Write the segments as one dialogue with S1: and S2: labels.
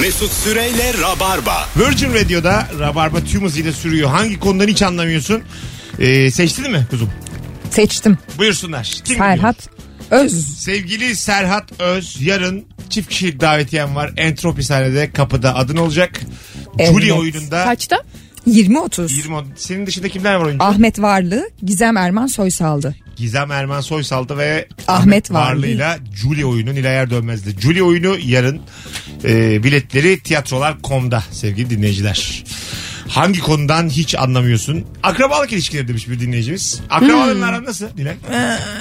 S1: Mesut Süreyle Rabarba.
S2: Virgin Radio'da Rabarba tüm hızıyla sürüyor. Hangi konudan hiç anlamıyorsun? Ee, seçtin mi kuzum?
S3: Seçtim.
S2: Buyursunlar. Kim biliyor?
S3: Ferhat Öz.
S2: Sevgili Serhat Öz yarın çift kişilik davetiyem var. Entropi sahnede kapıda adın olacak.
S3: Evet.
S2: Julia oyununda.
S4: Kaçta?
S3: 20-30.
S2: 20, senin dışında kimler var oyuncu?
S3: Ahmet Varlı, Gizem Erman Soysaldı.
S2: Gizem Erman Soysaldı ve
S3: Ahmet
S2: Varlı'yla Julie oyunu Nilay Erdönmez'le. Julie oyunu yarın e, biletleri tiyatrolar.com'da sevgili dinleyiciler. Hangi konudan hiç anlamıyorsun? Akrabalık ilişkileri demiş bir dinleyicimiz. Akrabaların
S4: Hmm.
S2: aran nasıl Nilay?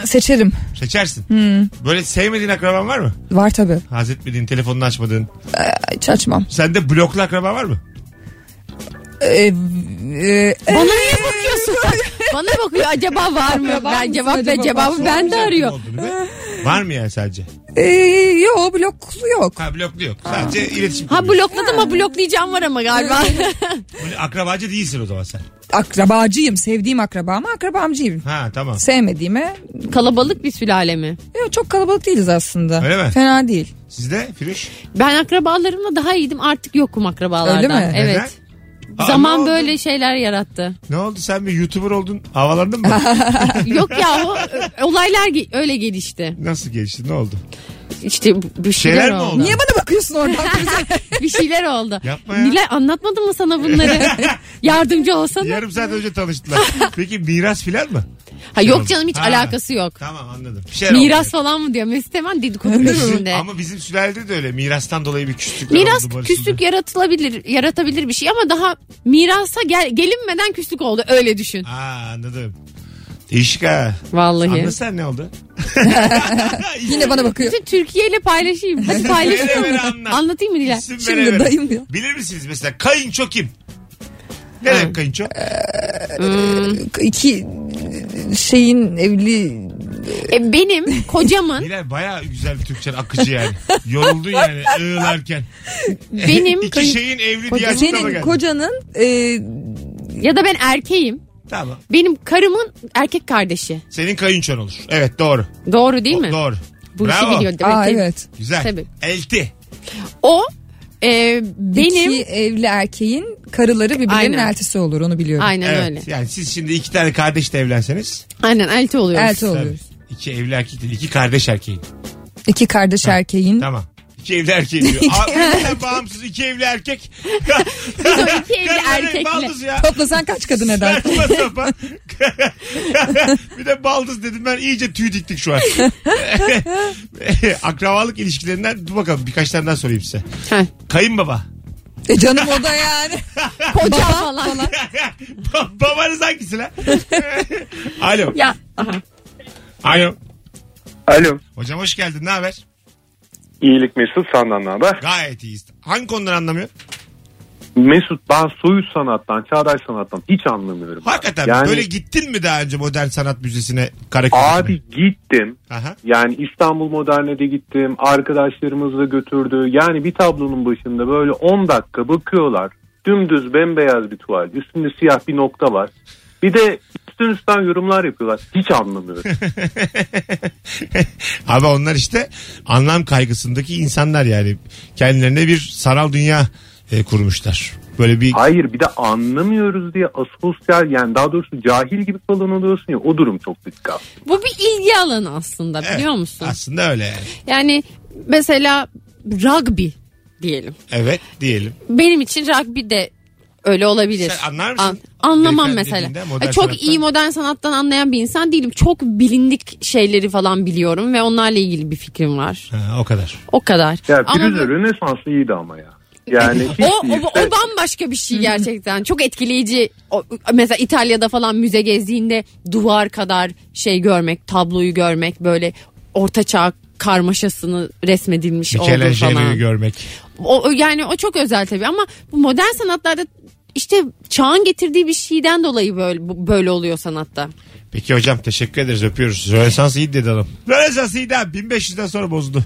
S3: Seçerim.
S2: Seçersin. Böyle sevmediğin akraban var mı?
S3: Var tabii.
S2: Hazretmediğin, telefonunu açmadığın.
S3: Hiç açmam.
S2: Sende bloklu akraban var mı?
S3: Ee, e,
S4: Bana niye bakıyorsun? Bana bakıyor acaba var mı?
S3: Acaba
S4: Ben
S3: mısın,
S4: cevap
S3: acaba
S4: ve cevabı
S3: mısın?
S4: ben de
S2: Güzel
S4: arıyor.
S2: kim olduğunu be. Var mı yani sadece?
S3: e, yo bloklu yok.
S2: Ha bloklu yok. Sadece iletişim.
S4: Ha
S2: kurmuyorsun.
S4: blokladım ha bloklayacağım var ama galiba.
S2: Böyle Akrabacı değilsin o zaman sen.
S3: Akrabacıyım. Sevdiğim akrabama akrabamcıyım.
S2: Ha tamam.
S3: Sevmediğime
S4: Kalabalık bir sülale mi?
S3: yo, çok kalabalık değiliz aslında.
S2: Öyle mi?
S3: Fena değil.
S2: Sizde Firuş?
S4: Ben akrabalarımla daha iyiydim artık yokum akrabalardan.
S3: Öyle mi?
S4: Evet.
S2: Neden? Aa, ne
S4: Zaman
S2: oldu?
S4: böyle şeyler yarattı.
S2: Ne oldu sen bir YouTuber oldun havalandın mı?
S4: Yok ya o olaylar ge- öyle gelişti.
S2: Nasıl geçti ne oldu?
S4: İşte bu- bir şeyler,
S2: Şeyler mi
S4: oldu.
S2: oldu?
S3: Niye bana bakıyorsun oradan?
S4: bir şeyler oldu.
S2: Yapma ya.
S4: Nilay anlatmadım mı sana bunları? Yardımcı olsana.
S2: Yarım saat önce tanıştılar. Peki miras filan mı?
S4: Ha, yok canım hiç
S2: Ha.
S4: alakası yok.
S2: Tamam anladım. Bir şeyler
S4: Miras
S2: oldu.
S4: falan mı diyor. Mesut hemen dedikodudur
S2: Bizim-
S4: önünde.
S2: Ama bizim sülalede de öyle mirastan dolayı bir küslükler
S4: Miras
S2: oldu. barışıldı.
S4: küslük yaratılabilir, yaratabilir bir şey ama daha mirasa gel, gelinmeden küslük oldu. Öyle düşün.
S2: Aa anladım. Değişik ha.
S4: Vallahi.
S2: Anlasan ne oldu?
S3: Yine bana bakıyor.
S4: Bütün Türkiye ile paylaşayım. Hadi
S2: Vere
S4: paylaşayım.
S2: vere anlat.
S4: Anlatayım mı Nilay?
S2: İsim vere
S3: Şimdi
S2: vere.
S3: dayım diyor.
S2: Bilir misiniz mesela kayınço kim? Ne demek kayınço?
S3: İki e, şeyin evli
S4: E, benim kocamın
S2: Bilal bayağı güzel bir Türkçen akıcı yani. Yoruldun yani ığlarken. İki
S4: benim
S2: şey-
S4: kayın-
S2: şeyin evli diye açıklama
S3: senin
S2: geldi.
S3: kocanın e,
S4: ya da ben erkeğim.
S2: Tamam.
S4: Benim karımın erkek kardeşi.
S2: Senin kayınçon olur. Evet doğru.
S4: Doğru değil mi?
S2: Doğru.
S4: Bu işi
S2: Bravo.
S4: biliyor demek
S3: aa
S4: ki.
S3: evet.
S2: Güzel.
S4: Tabii.
S2: Elti.
S4: O e, benim
S3: Benim iki evli erkeğin karıları birbirlerinin
S4: Aynen.
S3: eltisi olur onu biliyorum.
S4: aynen
S2: evet.
S4: öyle.
S2: Yani siz şimdi iki tane kardeş de evlenseniz.
S4: Aynen elti oluyoruz.
S3: Elti
S2: Tabii.
S3: oluyoruz.
S2: İki evli erkek değil. iki kardeş erkeğin.
S3: İki kardeş erkeğin
S2: Tamam. İki evli erkeğin diyor. Aa, birbirinden bağımsız iki evli erkek.
S4: Biz o iki evli
S2: Kadınlar hep
S4: erkekle.
S2: Baldız ya.
S3: toplasan kaç kadın eder?
S2: Saçma sapan. bir de baldız dedim ben iyice tüy diktik şu an. Akrabalık ilişkilerinden dur bakalım birkaç tane daha sorayım size.
S4: Heh.
S2: Kayınbaba.
S3: E canım o da yani.
S4: Koca falan.
S2: Ba- Babanız hangisi lan? Alo.
S4: Ya. Aha.
S2: Alo.
S5: Alo.
S2: Hocam hoş geldin ne haber?
S5: İyilik Mesut senden ne haber?
S2: Gayet iyiyiz. Hangi konuları anlamıyor?
S5: Mesut ben soyut sanattan, çağdaş sanattan hiç anlamıyorum.
S2: Hakikaten
S5: Yani-
S2: böyle gittin mi daha önce modern sanat müzesine Karaköy'e?
S5: Abi gittim.
S2: Aha.
S5: Yani İstanbul Modern'e de gittim. Arkadaşlarımız da götürdü. Yani bir tablonun başında böyle 10 dakika bakıyorlar. Dümdüz bembeyaz bir tuval. Üstünde siyah bir nokta var. Bir de üstün üstten yorumlar yapıyorlar. Hiç anlamıyorum.
S2: Abi onlar işte anlam kaygısındaki insanlar yani. Kendilerine bir sanal dünya e, kurmuşlar. Böyle bir
S5: Hayır bir de anlamıyoruz diye asosyal yani daha doğrusu cahil gibi falan oluyorsun ya o durum çok sıkıntı.
S4: Bu bir ilgi alanı aslında biliyor
S2: Evet,
S4: musun?
S2: Aslında öyle yani.
S4: Yani mesela rugby diyelim.
S2: Evet diyelim.
S4: Benim için rugby de öyle olabilir.
S2: Sen anlar mısın?
S4: anlamam
S2: Beyefendi
S4: mesela.
S2: dediğinde modern
S4: Ay, çok
S2: sanattan.
S4: iyi modern sanattan anlayan bir insan değilim. Çok bilindik şeyleri falan biliyorum ve onlarla ilgili bir fikrim var.
S2: Ha, o kadar.
S4: O kadar.
S5: Ya
S4: Ama
S5: Firuze
S4: bu- E,
S5: Rönesans'ı iyiydi ama ya. Yani hiç
S4: o, o,
S5: değilse-
S4: o bambaşka bir şey gerçekten. Çok etkileyici. O- mesela İtalya'da falan müze gezdiğinde duvar kadar şey görmek, tabloyu görmek böyle ortaçağ karmaşasını resmedilmiş olduğu
S2: Michelangelo
S4: falan.
S2: görmek.
S4: O, o- yani o çok özel tabii ama bu modern sanatlarda işte çağın getirdiği bir şeyden dolayı böyle bu- böyle oluyor sanatta.
S2: Peki hocam teşekkür ederiz öpüyoruz. Rönesans iyi dedi hanım. Rönesans iyi abi 1500'den sonra bozuldu.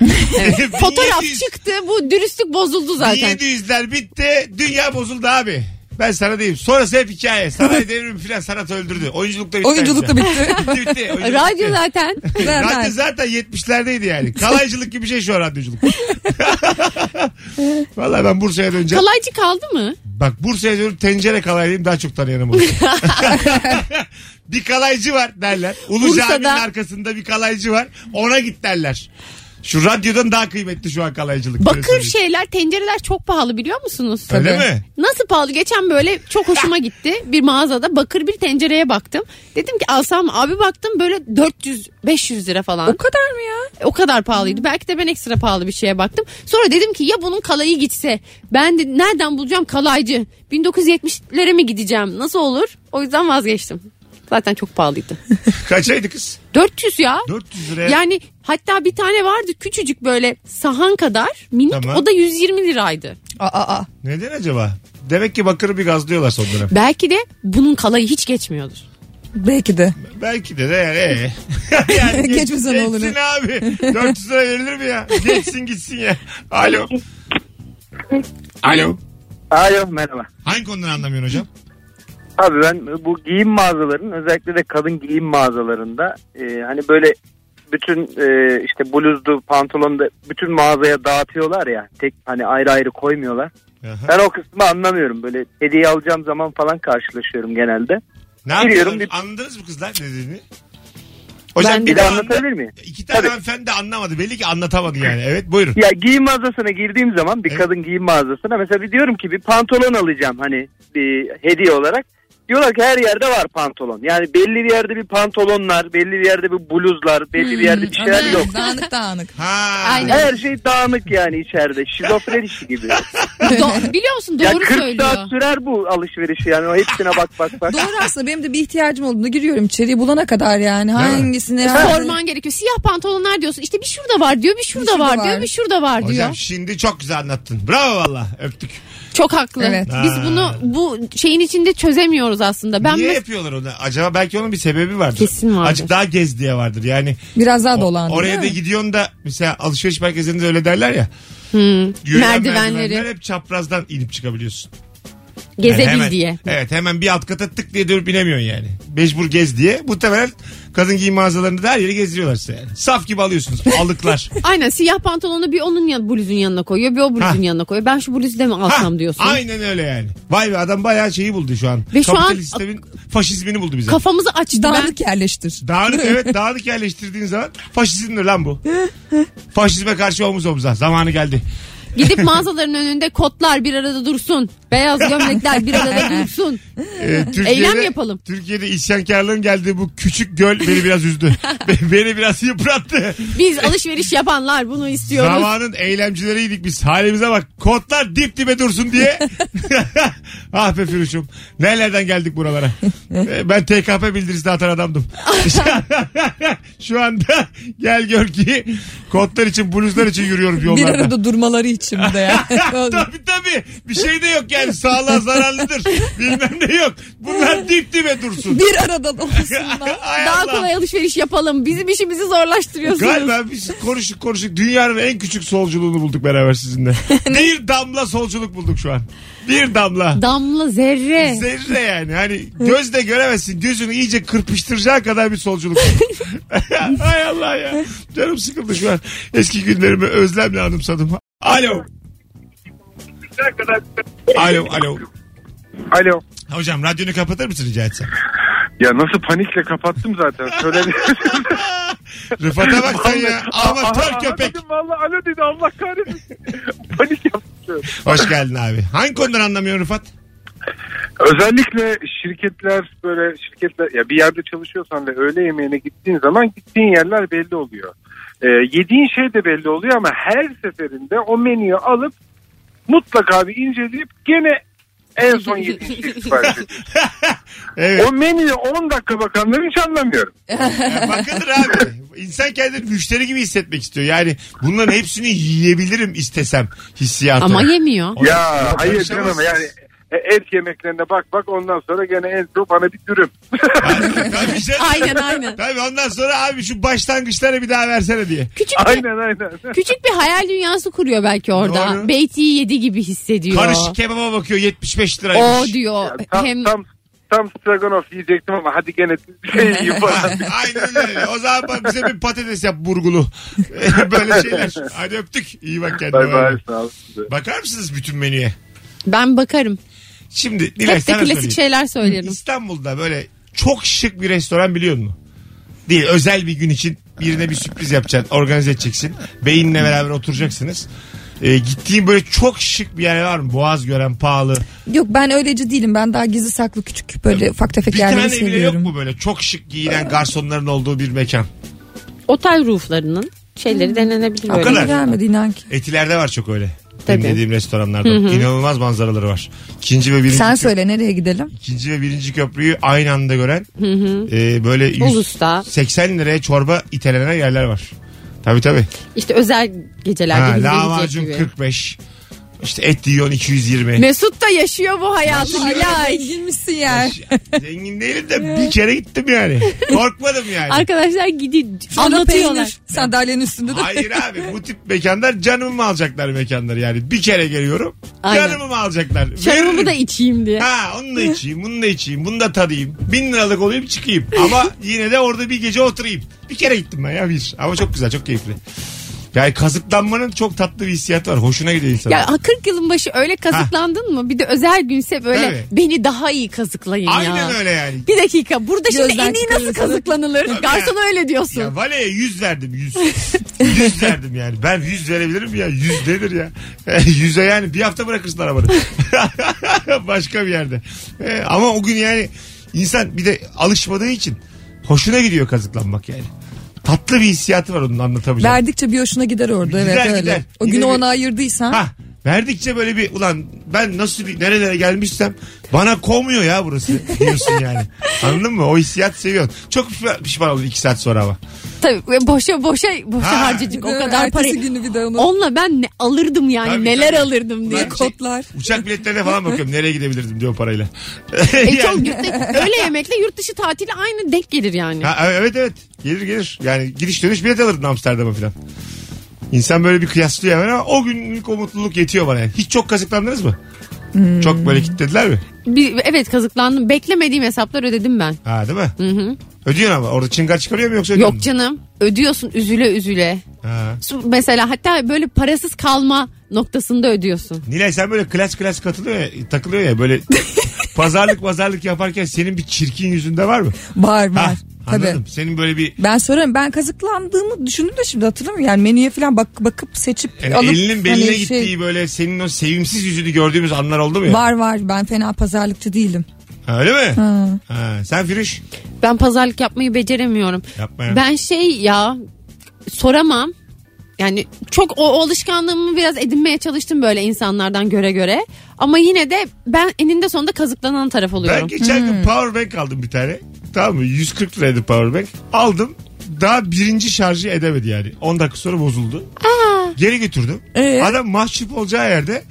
S4: Fotoğraf
S2: 1700
S4: çıktı bu dürüstlük bozuldu zaten.
S2: 1700'ler bitti dünya bozuldu abi. Ben sana diyeyim. Sonrası hep hikaye. Sanayi devrimi filan sanat öldürdü. Oyunculukta bitti.
S3: Oyunculuk da
S2: bitti.
S3: bitti.
S2: bitti, bitti. Oyunculuk
S4: Radyo
S2: bitti.
S4: zaten.
S2: Radyo
S3: Zaten.
S2: zaten 70'lerdeydi yani. Kalaycılık gibi bir şey şu an radyoculuk. Vallahi ben Bursa'ya döneceğim.
S4: Kalaycı kaldı mı?
S2: Bak Bursa'ya dönüp tencere kalaylıyım daha çok tanıyanım olur. bir kalaycı var derler. Ulu
S4: Bursa'da-
S2: caminin arkasında bir kalaycı var. Ona git derler. Şu radyodan daha kıymetli şu an kalaycılık. Öyle
S4: Bakır
S2: söyleyeyim.
S4: şeyler, tencereler çok pahalı biliyor musunuz?
S2: Öyle mi?
S4: Nasıl pahalı? Geçen böyle çok hoşuma gitti. Bir mağazada bakır bir tencereye baktım. Dedim ki alsam mı? abi baktım böyle 400-500 lira falan.
S3: O kadar mı ya?
S4: O kadar pahalıydı. Belki de ben ekstra pahalı bir şeye baktım. Sonra dedim ki ya bunun kalayı gitse. Ben de nereden bulacağım kalaycı? 1970'lere mi gideceğim? Nasıl olur? O yüzden vazgeçtim. Zaten çok pahalıydı.
S2: Kaçaydı kız?
S4: 400 şey- ya.
S2: 400 liraya.
S4: Yani hatta bir tane vardı küçücük böyle sahan kadar minik
S2: Tamam.
S4: o da 120 liraydı.
S3: Aa, aa.
S2: Neden acaba? Demek ki bakırı bir gazlıyorlar son dönem.
S4: Belki de bunun kalayı hiç geçmiyordur.
S3: Belki de.
S2: Belki de de yani. ee. yani
S3: Geçmesen
S2: geçsin
S3: olur.
S2: abi. 400 lira verilir mi ya? Geçsin gitsin ya. Alo. Alo.
S6: Alo merhaba.
S2: Hangi konudan anlamıyorsun hocam?
S6: Abi ben bu giyim mağazalarının özellikle de kadın giyim mağazalarında e, hani böyle bütün e, işte bluzdu pantolonu da bütün mağazaya dağıtıyorlar ya tek hani ayrı ayrı koymuyorlar.
S2: Aha.
S6: Ben o kısmı anlamıyorum böyle hediye alacağım zaman falan karşılaşıyorum genelde.
S2: Ne
S6: Biliyorum
S2: yapıyorsun?
S6: bir-
S2: Anladınız mı kızlar ne dediğini? Hocam
S6: Bir de
S2: daha anla-
S6: anlatabilir miyim?
S2: İki tane
S6: Tabii.
S2: hanımefendi de anlamadı. Belli ki anlatamadı yani. Evet buyurun.
S6: Ya giyim mağazasına girdiğim zaman bir
S2: Evet.
S6: kadın giyim mağazasına mesela bir diyorum ki bir pantolon alacağım hani bir hediye olarak. Diyorlar ki her yerde var pantolon. Yani belli bir yerde bir pantolonlar, belli bir yerde bir bluzlar, belli bir yerde bir şeyler
S3: Aman,
S6: yok.
S3: Dağınık dağınık.
S2: Ha.
S4: Aynen.
S6: Her şey dağınık yani içeride. Şizofren işi gibi.
S4: Do- biliyor musun
S6: ya
S4: doğru
S6: 40
S4: söylüyor.
S6: saat sürer bu alışveriş yani. O hepsine bak bak bak.
S3: Doğru aslında benim de bir ihtiyacım olduğunda giriyorum içeriği bulana kadar yani. Hangisine?
S4: Sorman gerekiyor. Siyah pantolonlar diyorsun. İşte bir şurada var diyor, bir şurada,
S3: şurada
S4: var, diyor,
S3: var.
S4: bir şurada var diyor.
S2: Hocam şimdi çok güzel anlattın. Bravo valla. Öptük.
S4: Çok haklı.
S3: Evet.
S4: Biz
S2: Ha.
S4: bunu bu şeyin içinde çözemiyoruz aslında. Ben
S2: Niye
S4: mes-
S2: yapıyorlar onu? Acaba belki onun bir sebebi vardır.
S4: Kesin vardır.
S2: Azıcık daha gez diye vardır. Yani
S3: Biraz daha
S2: O-
S3: dolandı.
S2: Oraya da gidiyorsun da mesela alışveriş merkezlerinde öyle derler ya. Yürüyen
S4: Merdivenleri.
S2: merdivenler hep çaprazdan inip çıkabiliyorsun. Yani
S4: gezebil
S2: hemen-
S4: diye.
S2: Evet hemen bir alt kata tık diye dönüp inemiyorsun yani. Mecbur gez diye. Muhtemelen kadın giyim mağazalarında da her yeri gezdiriyorlar size yani. Saf gibi alıyorsunuz. Alıklar.
S4: Aynen siyah pantolonu bir onun yan, bluzun yanına koyuyor, bir o bluzun yanına koyuyor. Ben şu bluzu da mi alsam
S2: Ha,
S4: diyorsun.
S2: Aynen öyle yani. Vay be adam bayağı şeyi buldu şu an.
S4: Ve şu
S2: Kapitalist
S4: an-
S2: sistemin faşizmini buldu bize.
S4: Kafamızı açtı. Ben
S3: Dağınık yerleştir.
S2: Dağınık evet dağınık yerleştirdiğin zaman faşizmdir lan bu. Faşizme karşı omuz omuza. Zamanı geldi.
S4: gidip mağazaların önünde kotlar bir arada dursun. Beyaz gömlekler bir arada dursun.
S2: Ee, Türkiye'de-
S4: Eylem yapalım.
S2: Türkiye'de isyankarlığın geldiği bu küçük göl beni biraz üzdü. Be- beni biraz yıprattı.
S4: Biz alışveriş yapanlar bunu istiyoruz.
S2: Zamanın eylemcileriydik biz. Halimize bak. Kotlar dip dibe dursun diye. ah be Firuş'um. Nerelerden geldik buralara. Ee, ben TKP bildirisi atan adamdım. Şu anda gel gör ki kotlar için bluzlar için yürüyorum
S3: Bir
S2: yollarda.
S3: arada durmaları için bir de ya.
S2: Tabii tabii. Bir şey de yok yani. Sağlığa zararlıdır. Bilmem ne yok. Bunlar dip dibe dursun.
S3: bir arada olsunlar.
S2: Hay
S4: Daha
S2: Allah.
S4: kolay alışveriş yapalım. Bizim işimizi zorlaştırıyorsunuz.
S2: Galiba biz konuştuk konuştuk dünyanın en küçük solculuğunu bulduk beraber sizinle. bir damla solculuk bulduk şu an. Bir damla.
S4: Damla zerre.
S2: Zerre yani hani gözle göremezsin gözünü iyice kırpıştıracağı kadar bir solculuk. Hay Allah ya canım sıkıldı şu an eski günlerimi özlemle anımsadım. Alo. Alo alo.
S5: Alo.
S2: Hocam radyonu kapatır mısın rica etsem?
S5: Ya nasıl panikle kapattım zaten. Söyledim.
S2: Rıfat'a bak sen ya amatör
S5: Aha,
S2: köpek.
S5: dedim Valla alo dedi Allah kahretsin. Panik yaptım.
S2: Hoş geldin abi. Hangi konudan anlamıyorsun Rıfat?
S5: Özellikle şirketler böyle şirketler ya bir yerde çalışıyorsan ve öğle yemeğine gittiğin zaman gittiğin yerler belli oluyor. Ee, yediğin şey de belli oluyor ama her seferinde o menüyü alıp mutlaka bir inceleyip gene en son yediğin şeyi sipariş ediyorsun.
S2: Evet.
S5: O menüye 10 dakika bakanları hiç anlamıyorum.
S2: Ya bakılır abi. İnsan kendini müşteri gibi hissetmek istiyor. Yani bunların hepsini yiyebilirim istesem hissiyatı.
S4: Ama yemiyor.
S2: O-
S5: Ya
S2: Yok,
S5: hayır
S2: karışamazsınız.
S5: canım yani
S7: E, et yemeklerine bak bak ondan sonra gene en son bana bir dürüm.
S2: Tabii canım.
S4: Aynen aynen.
S2: Tabii ondan sonra abi şu başlangıçları bir daha versene diye.
S4: Küçük bir,
S7: aynen aynen.
S4: küçük bir hayal dünyası kuruyor belki orada.
S2: Doğru.
S4: Beyti'yi yedi gibi hissediyor.
S2: Karışık kebaba bakıyor 75
S4: O
S2: liraymış.
S4: diyor.
S7: tam,
S4: Hem
S7: tam, tam stroganoff yiyecektim ama hadi gene şey yiyeyim falan.
S2: Aynen öyle. O zaman bak bize bir patates yap burgulu. Böyle şeyler. Hadi öptük. İyi bak kendine.
S7: Bay bay sağ olun.
S2: Bakar mısınız bütün menüye?
S4: ben bakarım.
S2: Şimdi Nilay
S4: Hep de
S2: sana
S4: klasik
S2: söyleyeyim.
S4: şeyler söylerim.
S2: İstanbul'da böyle çok şık bir restoran biliyor musun? Değil özel bir gün için birine bir sürpriz yapacaksın. Organize edeceksin. Beyinle beraber oturacaksınız. Ee, gittiğin böyle çok şık bir yer var mı? Boğaz gören pahalı.
S3: Yok ben öyleci değilim. Ben daha gizli saklı küçük böyle ufak tefek
S2: Bir tane
S3: yerleri
S2: bile yok
S3: seviyorum.
S2: mu böyle? Çok şık giyinen garsonların olduğu bir mekan.
S4: Otel rooflarının şeyleri denenebilir
S2: O
S4: böyle.
S2: kadar.
S3: İyi gelmedi inan ki.
S2: Etilerde var çok öyle.
S4: Tabii.
S2: Benim dediğim restoranlarda. İnanılmaz manzaraları var. İkinci ve birinci,
S3: Sen
S2: kö-
S3: söyle nereye gidelim?
S2: ikinci ve birinci köprüyü aynı anda gören e, böyle yüz-
S4: Ulus'ta.
S2: 80 liraya çorba itelenen yerler var. Tabii tabii.
S4: İşte özel
S2: Ha,
S4: gecelerde ha,
S2: lahmacun 45. İşte et yiyorsun 220.
S4: Mesut da yaşıyor bu hayatı Nilay.
S3: Girmişsin yer.
S2: Zengin değilim de bir kere gittim yani. Korkmadım yani.
S4: Arkadaşlar gidin
S3: Anlatıyorlar.
S4: anlatıyorlar.
S3: Sandalyenin üstünde de.
S2: Hayır abi bu tip mekanlar canımı mı alacaklar mekanları yani. Bir kere geliyorum
S4: Aynen.
S2: canımı mı alacaklar. Veririm.
S4: Şarabımı da içeyim diye.
S2: Ha onu da içeyim, bunu da içeyim, bunu da tadayım. Bin liralık olayım çıkayım. Ama yine de orada bir gece oturayım. Bir kere gittim ben ya bir. Ama çok güzel, çok keyifli. Yani kazıklanmanın çok tatlı bir hissiyatı var. Hoşuna gidiyor insan.
S4: Ya 40 yılın başı öyle kazıklandın mı? Bir de özel günse böyle
S2: Tabii.
S4: beni daha iyi kazıklayın
S2: Aynen
S4: ya.
S2: öyle yani.
S4: Bir dakika burada şimdi
S3: Gözden
S4: en iyi nasıl
S3: çıkarırsın.
S4: kazıklanılır? Garsona öyle diyorsun.
S2: Ya valeye yüz verdim yüz. yüz verdim yani. Ben yüz verebilirim ya. Yüz nedir ya? E, Yüze yani bir hafta bırakırsın arabanı. Başka bir yerde. E, ama o gün yani insan bir de alışmadığı için hoşuna gidiyor kazıklanmak yani. Tatlı bir hissiyatı var onun anlatamayacağım.
S3: Verdikçe bir hoşuna gider orada.
S2: Gider,
S3: evet öyle.
S2: gider.
S3: O
S2: Yine
S3: günü
S2: bir-
S3: ona ayırdıysan.
S2: Ha verdikçe böyle bir ulan ben nasıl bir nerelere gelmişsem bana komuyor ya burası diyorsun yani. Anladın mı? O hissiyat seviyorsun. Çok pişman- pişman oldun iki saat sonra ama.
S4: Tabii ve boşa boşa boşa
S2: Ha.
S4: harcayacak o
S3: Evet,
S4: kadar
S3: ertesi
S4: parayı.
S3: günü bir de onu.
S4: Onunla ben ne alırdım yani
S2: Tabii,
S4: neler
S2: tabii.
S4: alırdım diye.
S3: diye kodlar.
S2: Uçak biletlerine falan bakıyorum. Nereye gidebilirdim diyor parayla.
S4: E,
S2: Yani-
S4: çok yurt, öyle yemekle yurt dışı tatili aynı denk gelir yani.
S2: Ha, e, evet evet. Gelir gelir. Yani gidiş dönüş bilet alırdın Amsterdam'a falan. İnsan böyle bir kıyaslıyor hemen ama o günlük o mutluluk yetiyor bana yani. Hiç çok kazıklandınız mı?
S4: Hmm.
S2: Çok böyle kitlediler mi?
S4: Bir, evet kazıklandım. Beklemediğim hesaplar ödedim ben.
S2: Ha değil mi? Ödüyorsun ama orada çıngar çıkarıyor mu yoksa ödüyor
S4: Hmm. Yok canım. Ödüyorsun üzüle üzüle.
S2: Ha.
S4: Su- Mesela hatta böyle parasız kalma noktasında ödüyorsun.
S2: Nilay sen böyle klas klas katılıyor ya, takılıyor ya böyle pazarlık pazarlık yaparken senin bir çirkin yüzünde var mı?
S3: Var var.
S2: Ha,
S3: Tabii.
S2: anladım. Senin böyle bir
S3: Ben sorarım ben kazıklandığımı düşündüm de şimdi hatırlamıyorum. Yani menüye falan bak, bakıp seçip
S2: yani
S3: alıp.
S2: E, elinin beline
S3: hani şey-
S2: gittiği böyle senin o sevimsiz yüzünü gördüğümüz anlar oldu mu ya?
S3: Var var ben fena pazarlıkçı değilim.
S2: Ha, öyle mi?
S3: Ha.
S2: Ha, sen Firuş.
S4: Ben pazarlık yapmayı beceremiyorum.
S2: Yapma ya.
S4: Ben şey ya soramam. Yani çok o, o alışkanlığımı biraz edinmeye çalıştım böyle insanlardan göre göre. Ama yine de ben eninde sonunda kazıklanan taraf
S2: Ben
S4: oluyorum.
S2: geçen
S3: Hmm.
S2: gün power bank aldım bir tane. Tamam mı? 140 liraydı power bank. Aldım. Daha birinci şarjı edemedi yani. 10 dakika sonra bozuldu. Geri götürdüm.
S3: Ee?
S2: Adam mahcup olacağı yerde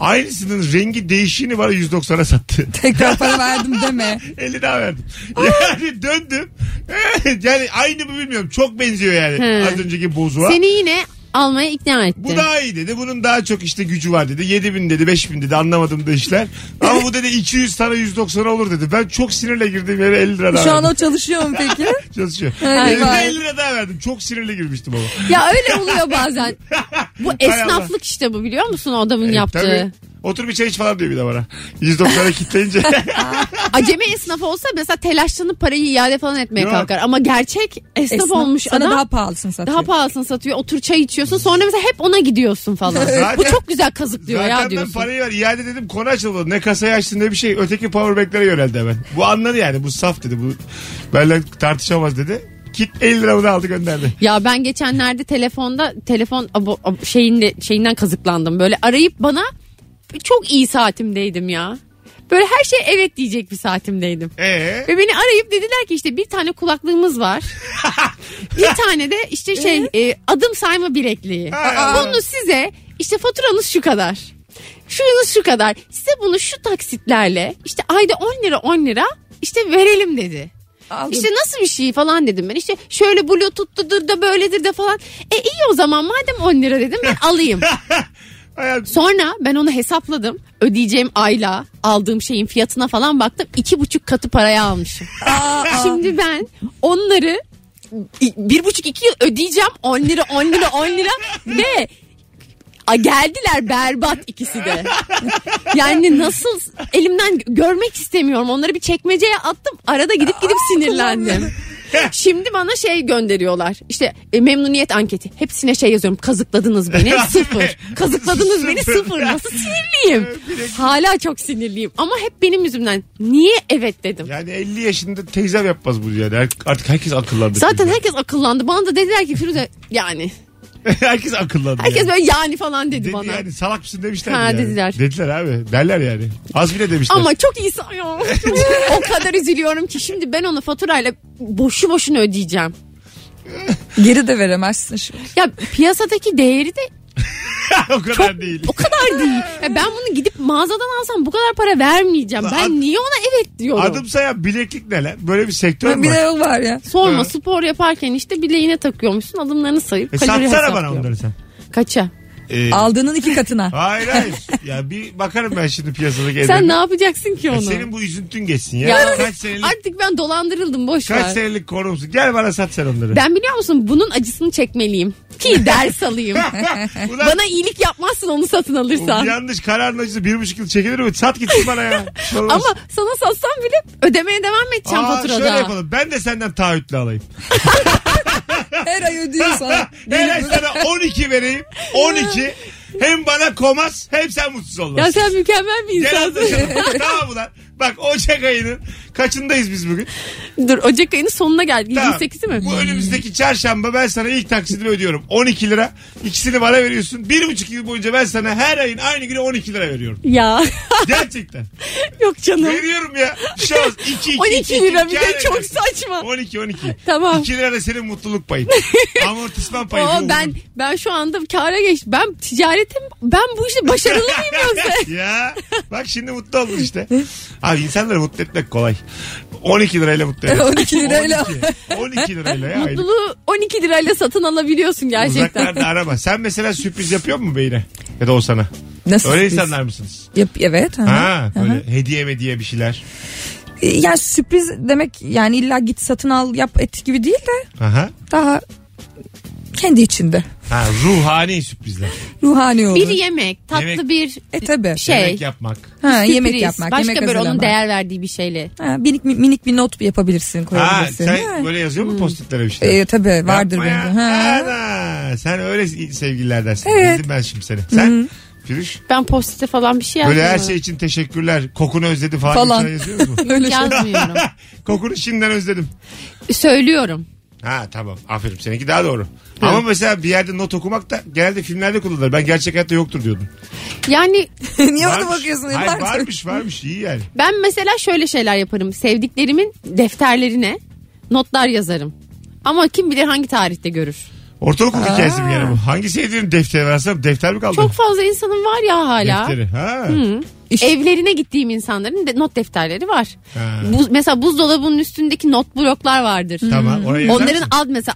S2: aynısının rengi değişiğini bana 190'a sattı.
S3: Tekrar para verdim deme.
S2: 50 daha verdim. Yani döndüm. yani aynı mı bilmiyorum. Çok benziyor yani.
S4: He.
S2: Az önceki bozuğa.
S4: Seni yine almaya ikna etti.
S2: Bu daha iyi dedi. Bunun daha çok işte gücü var dedi. 7000 dedi 5000 dedi anlamadım da işler. Ama bu dedi 200 sana 190 olur dedi. Ben çok sinirle girdim yere 50 lira daha
S3: Şu an
S2: verdim.
S3: o çalışıyor mu peki?
S2: Çalışıyor.
S3: Ay,
S2: Elime
S3: vay.
S2: 50 lira daha verdim. Çok sinirle girmiştim ama.
S4: Ya öyle oluyor bazen. Bu
S2: Hay Allah.
S4: esnaflık işte bu biliyor musun o adamın
S2: E,
S4: yaptığı.
S2: tabii. Otur bir çay iç falan diyor bir de bana. 190'a kitleyince.
S4: Acemi esnaf olsa mesela telaşlanıp parayı iade falan etmeye
S2: Yok.
S4: kalkar. Ama gerçek esnaf,
S3: Esnaf
S4: olmuş
S3: sana
S4: adam
S3: daha
S4: daha,
S3: pahalısını satıyor.
S4: pahalısını satıyor. Otur çay içiyorsun sonra mesela hep ona gidiyorsun falan.
S2: Zaten-
S4: bu çok güzel kazıklıyor ya
S2: Zaten ben
S4: diyorsun.
S2: parayı ver iade dedim konu açıldı. Ne kasayı açtın ne bir şey. Öteki powerbank'lere yöneldi hemen. Bu anladı yani bu saf dedi. Bu benimle tartışamaz dedi. Kit 50 liramı da aldı gönderdi.
S4: Ya ben geçenlerde telefonda telefon abo, abo- şeyinde şeyinden kazıklandım. Böyle arayıp bana çok iyi saatimdeydim ya. Böyle her şey evet diyecek bir saatimdeydim.
S2: Ee?
S4: Ve beni arayıp dediler ki işte bir tane kulaklığımız var. bir tane de işte şey e, adım sayma bilekliği.
S2: Ha.
S4: Bunu size işte faturanız şu kadar. şuyunuz şu kadar. Size bunu şu taksitlerle işte ayda 10 lira 10 lira işte verelim dedi.
S3: Aldım.
S4: İşte nasıl bir şey falan dedim ben. İşte şöyle bluetooth'tudur da böyledir de falan. E iyi o zaman madem 10 lira dedim ben alayım.
S2: Hayat-
S4: Sonra ben onu hesapladım. Ödeyeceğim ayla aldığım şeyin fiyatına falan baktım. iki buçuk katı paraya almışım. Şimdi ben onları i- bir buçuk iki yıl ödeyeceğim. 10 lira 10 lira 10 lira ve a, geldiler berbat ikisi de. Yani nasıl elimden gö- görmek istemiyorum. Onları bir çekmeceye attım. Arada gidip gidip sinirlendim. Şimdi bana şey gönderiyorlar. İşte e, memnuniyet anketi. Hepsine şey yazıyorum. Kazıkladınız beni sıfır. Kazıkladınız beni sıfır. Nasıl sinirliyim? Hala çok sinirliyim. Ama hep benim yüzümden. Niye evet dedim.
S2: Yani 50 yaşında teyzem yapmaz bunu yani. Her- Artık herkes akıllandı.
S4: Zaten herkes akıllandı. Bana da dediler ki Firuze yani.
S2: herkes akıllandı.
S4: Herkes
S2: yani.
S4: böyle yani falan dedi,
S2: Dedi
S4: bana.
S2: yani salak mısın demişler.
S4: Ha,
S2: yani.
S4: dediler.
S2: Dediler abi. Derler yani. Az bile demişler.
S4: Ama çok iyi sayıyor. o kadar üzülüyorum ki şimdi ben onu faturayla boşu boşuna ödeyeceğim.
S3: Geri de veremezsin şimdi.
S4: Ya piyasadaki değeri de
S2: o kadar değil.
S4: o kadar değil. Ya ben bunu gidip mağazadan alsam bu kadar para vermeyeceğim.
S2: Lan
S4: Ben
S2: ad-
S4: niye ona evet diyorum?
S2: Adım sayan bileklik ne lan? Böyle bir sektör mü
S3: Bir
S2: var?
S3: de o var ya.
S4: Sorma
S2: Ha.
S4: spor yaparken işte bileğine takıyormuşsun adımlarını sayıp
S2: E,
S4: kalori
S2: satsana bana
S4: hesaplıyor.
S2: onları sen.
S4: Kaça?
S2: Ee,
S3: Aldığının iki katına.
S2: hayır hayır. ya bir bakarım ben şimdi piyasadaki
S4: Sen
S2: edebi.
S4: ne yapacaksın ki
S2: Ya
S4: onu?
S2: E, Senin bu üzüntün geçsin ya.
S4: Ya-
S2: Kaç senelik,
S4: Artık ben dolandırıldım boş ver.
S2: kaç senelik korumsun. Gel bana sat sen onları.
S4: Ben biliyor musun bunun acısını çekmeliyim. Ki ders alayım.
S2: Ulan-
S4: Bana iyilik yapmazsın onu satın
S2: O
S4: alırsan.
S2: yanlış kararın acısı bir buçuk yıl çekilir mi? Sat gitsin bana ya. Sorulmaz.
S4: Ama sana satsam bile ödemeye devam edeceğim
S2: Aa,
S4: faturada.
S2: Şöyle yapalım. Ben de senden taahhütlü alayım.
S3: Her ay ödüyorsan.
S2: Her ay sana 12 vereyim. 12. Hem bana komaz hem sen mutsuz olmaz.
S4: Ya sen mükemmel bir
S2: Gel
S4: insansın.
S2: anlaşalım. tamam ulan. Bak Ocak ayının kaçındayız biz bugün?
S4: Dur Ocak ayının sonuna geldi.
S2: Tamam.
S4: 28'i mi?
S2: Bu önümüzdeki çarşamba ben sana ilk taksitimi ödüyorum. 12 lira. İkisini bana veriyorsun. Bir buçuk yıl boyunca ben sana her ayın aynı güne 12 lira veriyorum.
S4: Ya
S2: Gerçekten.
S4: yok canım.
S2: veriyorum ya. Şans. 2, 2,
S4: 12 lira bir de
S2: kâr
S4: çok
S2: edersin.
S4: saçma.
S2: 12 12.
S4: Tamam.
S2: 2 lira da senin mutluluk payın. Amortisman payı.
S4: Oo, ben ben şu anda kâra geç. Ben ticaretim ben bu işte başarılı mıyım yoksa?
S2: ya bak şimdi mutlu oldun işte. Abi insanları mutlu etmek kolay. 12 lirayla mutlu et.
S3: 12 lirayla.
S2: 12 lirayla ya. aylık.
S4: Mutluluğu 12 lirayla satın alabiliyorsun gerçekten.
S2: Uzaklarda arama. Sen mesela sürpriz yapıyor mu beyine? Ya da o sana.
S3: Nasıl
S2: Öyle
S3: sürpriz?
S2: insanlar mısınız?
S3: Yap, evet. hı hı.
S2: Ha, böyle hediye hediye bir şeyler.
S3: E, Yani sürpriz demek yani illa git satın al yap et gibi değil de
S2: Aha.
S3: daha kendi içinde.
S2: Ha, ruhani sürprizler.
S3: Ruhani olur.
S4: Bir yemek, tatlı
S2: Yemek-
S4: bir
S3: e tabi.
S4: şey.
S2: Yemek yapmak.
S3: Ha, yemek
S4: sürpriz.
S3: yapmak.
S4: Başka
S3: yemek
S4: böyle onun
S3: hazırlamak.
S4: değer verdiği bir şeyle.
S3: Ha, minik, minik bir not yapabilirsin
S2: Ha,
S3: koyabilirsin.
S2: sen
S3: Ha.
S2: böyle yazıyor
S4: Hmm.
S2: mu postitlere bir şeyler?
S4: Ee,
S3: E, tabi vardır
S2: Yapma ya.
S3: bende. Ha.
S2: Ana, sen öyle sevgililerdensin.
S3: Evet.
S2: Bildim ben şimdi seni. Sen Firuş
S4: Ben postite falan bir şey
S2: böyle her
S4: yazmıyorum.
S2: şey için teşekkürler. Kokunu özledim falan.
S3: Falan.
S2: falan. Yazıyoruz mu?
S3: Öyle şey.
S4: Yazmıyorum.
S2: Kokunu şimdiden özledim.
S4: Söylüyorum.
S2: Ha tamam aferin seninki daha doğru. Ama mesela bir yerde not okumak da genelde filmlerde kullanılır. Ben gerçek hayatta yoktur diyordum.
S4: Yani
S3: Niye ona
S2: Varmış.
S3: bakıyorsun?
S2: Hayır,
S3: Yıllardır.
S2: varmış varmış iyi yani.
S4: ben mesela şöyle şeyler yaparım. Sevdiklerimin defterlerine notlar yazarım. Ama kim bilir hangi tarihte görür.
S2: Ortaokul
S3: Aa.
S2: hikayesi mi yani bu? Hangi sevdiğim defteri versem defter mi kaldı?
S4: Çok fazla insanın var ya hala.
S2: Defteri. Ha.
S3: İş-
S4: Evlerine gittiğim insanların de not defterleri var.
S2: Ha.
S4: Bu, mesela buzdolabının üstündeki not bloklar vardır.
S2: Tamam oraya yazar
S4: Onların
S2: mısın?
S4: ad mesela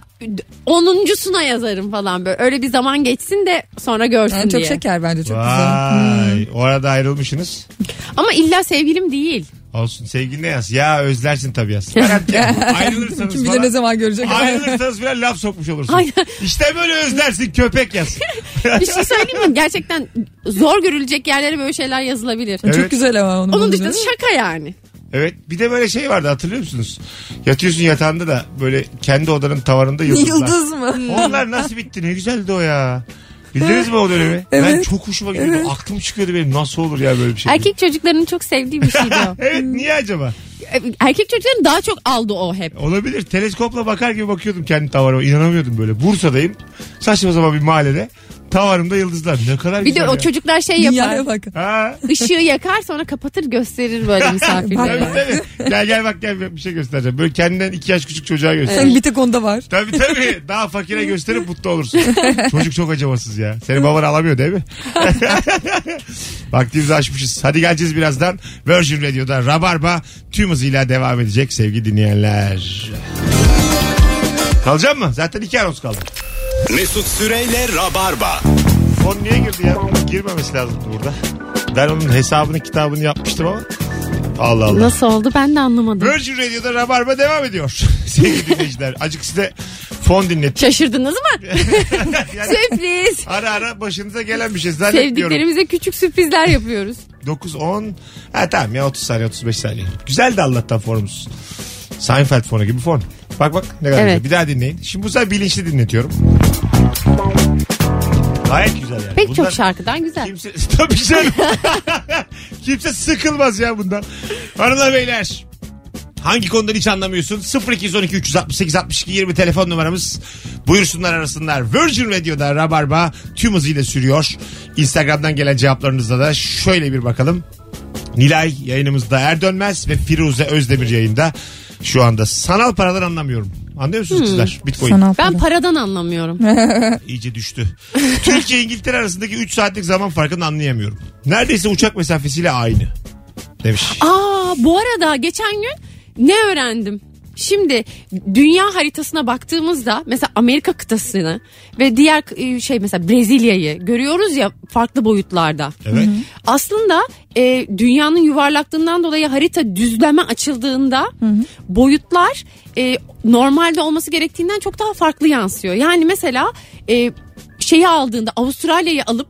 S4: onuncusuna yazarım falan böyle. Öyle bir zaman geçsin de sonra görsün
S3: Ha, çok
S4: diye.
S3: şeker bence çok güzel.
S2: Vay. O arada ayrılmışsınız.
S4: Ama illa sevgilim değil.
S2: Olsun sevgiline yaz. Ya özlersin tabii yaz. Garanti. şey Ayrılırsanız
S3: Kim bilir
S2: falan.
S3: ne zaman görecek.
S2: Ayrılırsanız falan laf sokmuş olursun.
S4: Aynen.
S2: İşte böyle özlersin köpek yaz.
S4: Bir şey söyleyeyim mi? Gerçekten zor görülecek yerlere böyle şeyler yazılabilir.
S2: Evet.
S3: Çok güzel ama onun.
S4: Onun
S3: bence.
S4: dışında şaka yani.
S2: Evet bir de böyle şey vardı hatırlıyor musunuz? Yatıyorsun yatağında da böyle kendi odanın tavanında yıldızlar.
S3: Yıldız
S4: Hmm.
S3: mı?
S2: Onlar nasıl bitti ne güzeldi o ya. Bildiniz mi o dönemi? Ben
S3: Evet.
S2: çok hoşuma gidiyordu. Aklım çıkıyordu benim nasıl olur ya böyle bir şey.
S4: Erkek çocuklarının çok sevdiği bir şeydi o.
S2: Evet niye acaba?
S4: Erkek çocukların daha çok aldı o hep.
S2: Olabilir. Teleskopla bakar gibi bakıyordum kendi tavarıma. İnanamıyordum böyle. Bursa'dayım. Saçma sapan bir mahallede. Tavarımda yıldızlar. Ne kadar
S4: Bir
S2: güzel
S4: de o
S2: ya.
S4: çocuklar şey
S3: Dünyaya
S4: yapar.
S3: bak.
S2: Ha.
S4: Işığı yakar sonra kapatır gösterir böyle
S2: Tabii
S4: misafirlere.
S2: tabii. Gel gel bak gel bir şey göstereceğim. Böyle kendinden iki yaş küçük çocuğa göster.
S3: Sen bir tek onda var.
S2: Tabii tabii. Daha fakire gösterip mutlu olursun. Çocuk çok acımasız ya. Senin baban alamıyor değil mi? Vaktimizi açmışız. Hadi geleceğiz birazdan. Virgin Radio'da Rabarba tüm hızıyla devam edecek sevgili dinleyenler. Kalacak mı? Zaten iki anons kaldı.
S1: Mesut Süreyle Rabarba.
S2: Fon niye girdi ya? Girmemesi lazımdı burada. Ben onun hesabını kitabını yapmıştım ama. Allah Allah.
S4: Nasıl oldu ben de anlamadım.
S2: Virgin Radio'da Rabarba devam ediyor. Sevgili dinleyiciler. Acık size fon dinlet.
S4: Şaşırdınız mı?
S2: Yani
S4: Sürpriz.
S2: ara ara başınıza gelen bir şey zannetmiyorum.
S4: Sevdiklerimize küçük sürprizler yapıyoruz.
S2: 9, 10. Ha tamam ya 30 saniye 35 saniye. Güzel de Allah'tan formumuz. Seinfeld fonu gibi fon. Bak bak ne kadar
S4: Evet.
S2: güzel. Bir daha dinleyin. Şimdi bu sefer bilinçli dinletiyorum. Gayet güzel yani.
S4: Pek
S2: Bundan
S4: çok şarkıdan güzel.
S2: Kimse, tabii canım. Kimse sıkılmaz ya bundan. Hanımlar beyler. Hangi konudan hiç anlamıyorsun? 0212 368 62 20 telefon numaramız. Buyursunlar arasınlar. Virgin Radio'da Rabarba tüm hızıyla sürüyor. Instagram'dan gelen cevaplarınızda da şöyle bir bakalım. Nilay yayınımızda Er Dönmez ve Firuze Özdemir yayında. Şu anda sanal paradan anlamıyorum. Anlıyor musunuz sizler? Bitcoin.
S3: Sanal
S4: Ben
S3: para.
S4: paradan anlamıyorum.
S2: İyice düştü. Türkiye İngiltere arasındaki 3 saatlik zaman farkını anlayamıyorum. Neredeyse uçak mesafesiyle aynı. Demiş.
S4: Aa bu arada geçen gün ne öğrendim? Şimdi dünya haritasına baktığımızda mesela Amerika kıtasını ve diğer e, şey mesela Brezilya'yı görüyoruz ya farklı boyutlarda.
S2: Evet.
S4: Aslında e, dünyanın yuvarlaklığından dolayı harita düzleme açıldığında boyutlar e, normalde olması gerektiğinden çok daha farklı yansıyor. Yani mesela e, şeyi aldığında Avustralya'yı alıp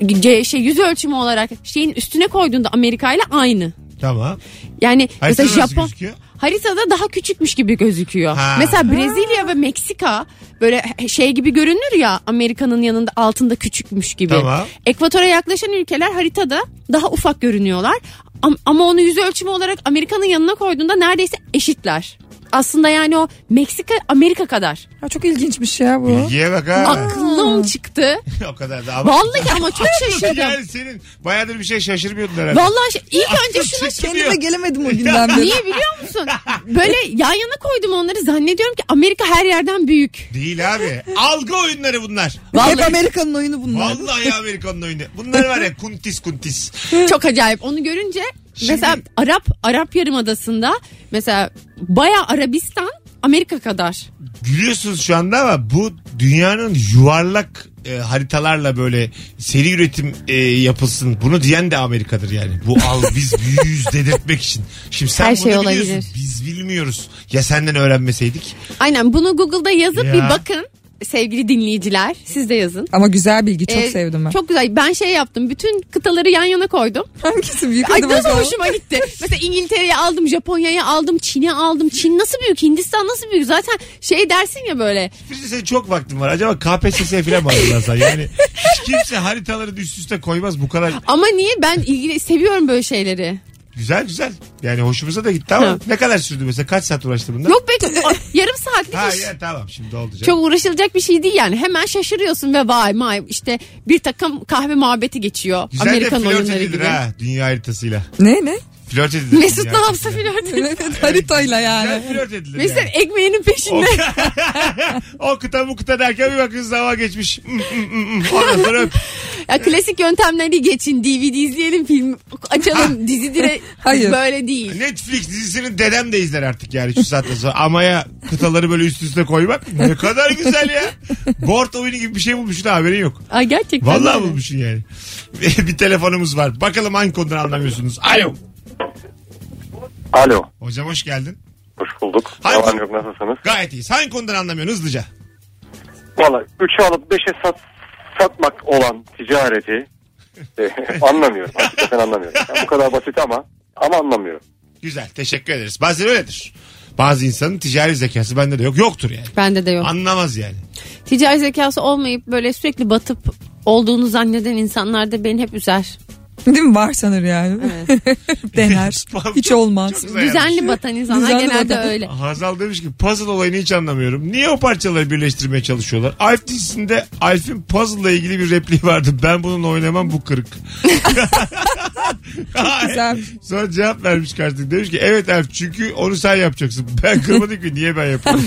S4: ge- şey yüz ölçümü olarak şeyin üstüne koyduğunda Amerika ile aynı.
S2: Tamam.
S4: Yani
S2: Haritada
S4: mesela
S2: nasıl
S4: Japon
S2: gözüküyor?
S4: haritada daha küçükmüş gibi gözüküyor.
S2: Ha.
S4: Mesela Brezilya ve Meksika böyle şey gibi görünür ya Amerika'nın yanında altında küçükmüş gibi.
S2: Tamam.
S4: Ekvatora yaklaşan ülkeler haritada daha ufak görünüyorlar. Am- Ama onu yüz ölçümü olarak Amerika'nın yanına koyduğunda neredeyse eşitler. Aslında yani o Meksika Amerika kadar.
S3: Ha, çok ilginçmiş ya bu.
S2: Bilgiye bak ha.
S4: Aklım çıktı.
S2: o kadar da ama.
S4: Vallahi ama çok şaşırdım.
S2: yani senin bayağıdır bir şey şaşırmıyordun herhalde.
S4: Vallahi şey- ilk önce şuna
S2: Çıktı diyor.
S3: Kendime gelemedim o günden beri.
S4: Niye biliyor musun? Böyle yan yana koydum onları zannediyorum ki Amerika her yerden büyük.
S2: Değil abi. Algı oyunları bunlar.
S3: Hep Amerika'nın oyunu bunlar.
S2: Vallahi Amerikan'ın oyunu. Bunlar var ya kuntis kuntis.
S4: Çok acayip. Onu görünce
S2: Şimdi-
S4: mesela Arap Arap Yarımadası'nda mesela baya Arabistan Amerika kadar.
S2: Gülüyorsunuz şu anda ama bu dünyanın yuvarlak e, haritalarla böyle seri üretim e, yapılsın. Bunu diyen de Amerika'dır yani. Bu al biz büyüyüz dedirtmek için. Şimdi sen
S4: Her
S2: bunu
S4: şey
S2: biliyorsun.
S4: olabilir.
S2: Biz bilmiyoruz. Ya senden öğrenmeseydik.
S4: Aynen bunu Google'da yazıp
S2: Ya.
S4: bir bakın sevgili dinleyiciler. Siz de yazın.
S3: Ama güzel bilgi çok
S4: Ee,
S3: sevdim ben.
S4: Çok güzel. Ben şey yaptım. Bütün kıtaları yan yana koydum.
S3: Hangisi büyük
S4: Ay
S3: hadi
S4: nasıl
S3: bakalım.
S4: hoşuma gitti. Mesela İngiltere'yi aldım, Japonya'yı aldım, Çin'i aldım. Çin nasıl büyük, Hindistan nasıl büyük? Zaten şey dersin ya böyle.
S2: Birisi senin çok vaktin var. Acaba KPSS'ye falan mı hazırlansan? Yani hiç kimse haritaları üst üste koymaz. Bu kadar
S4: Ama niye? Ben ilgili seviyorum böyle şeyleri.
S2: güzel güzel. Yani hoşumuza da gitti ama
S4: Ha.
S2: ne kadar sürdü mesela? Kaç saat uğraştı bunda?
S4: Yok be o- yarım saatlik
S2: Ha
S4: iş.
S2: ya tamam şimdi oldu canım.
S4: Çok uğraşılacak bir şey değil yani. Hemen şaşırıyorsun ve vay may işte bir takım kahve muhabbeti geçiyor.
S2: Güzel
S4: Amerikan
S2: de flört
S4: oyunları
S2: edilir
S4: gibi.
S2: ha dünya haritasıyla.
S3: Ne ne?
S2: Flört edilir.
S4: Mesut
S2: dünya
S4: ne yapsa
S2: haritasıyla.
S4: flört ediyor.
S3: Evet, haritayla
S2: Güzel
S3: yani.
S2: flört edilir
S4: Mesut
S2: yani.
S4: ekmeğinin
S2: O,
S4: peşinde.
S2: o kıta bu kıta derken bir bakıyorsun zaman geçmiş. Mm, mm, mm, mm. Ondan sonra öp.
S4: Ya klasik yöntemleri geçin. DVD izleyelim, film
S2: Ah.
S4: açalım, dizi dire
S3: Hayır.
S4: böyle değil.
S2: Netflix dizisini dedem de izler artık yani şu saatten sonra. Ama ya kıtaları böyle üst üste koymak ne kadar güzel ya. Board oyunu gibi bir şey bulmuşsun da haberin yok.
S4: Ay gerçekten.
S2: Vallahi
S4: öyle.
S2: bulmuşsun yani. bir telefonumuz var. Bakalım hangi konudan anlamıyorsunuz. Alo.
S7: Alo.
S2: Hocam hoş geldin.
S7: Hoş bulduk.
S2: Hayır.
S7: Yalan yok nasılsınız?
S2: Gayet iyiyiz. Hangi konudan anlamıyorsun hızlıca?
S7: Valla 3'ü alıp 5'e sat, satmak olan ticareti e, anlamıyorum. Hakikaten anlamıyorum. Yani bu kadar basit ama ama anlamıyorum.
S2: Güzel teşekkür ederiz. Bazen öyledir. Bazı insanın ticari zekası bende de yok. Yoktur yani.
S4: Bende de yok.
S2: Anlamaz yani.
S4: Ticari zekası olmayıp böyle sürekli batıp olduğunu zanneden insanlar da beni hep üzer.
S3: Değil mi? Var sanır yani. Dener. Hiç olmaz.
S2: Çok güzel
S4: Düzenli
S2: yapmış.
S4: batan insanlar
S3: Düzenli
S4: genelde
S3: batan.
S4: öyle.
S2: Hazal demiş ki puzzle olayını hiç anlamıyorum. Niye o parçaları birleştirmeye çalışıyorlar? Alf dizisinde Alf'in puzzle ile ilgili bir repliği vardı. Ben bununla oynamam bu kırık.
S3: Güzel.
S2: Sonra cevap vermiş karşılık. Demiş ki evet Alf çünkü onu sen yapacaksın. Ben kırmadım ki niye ben yapıyorum?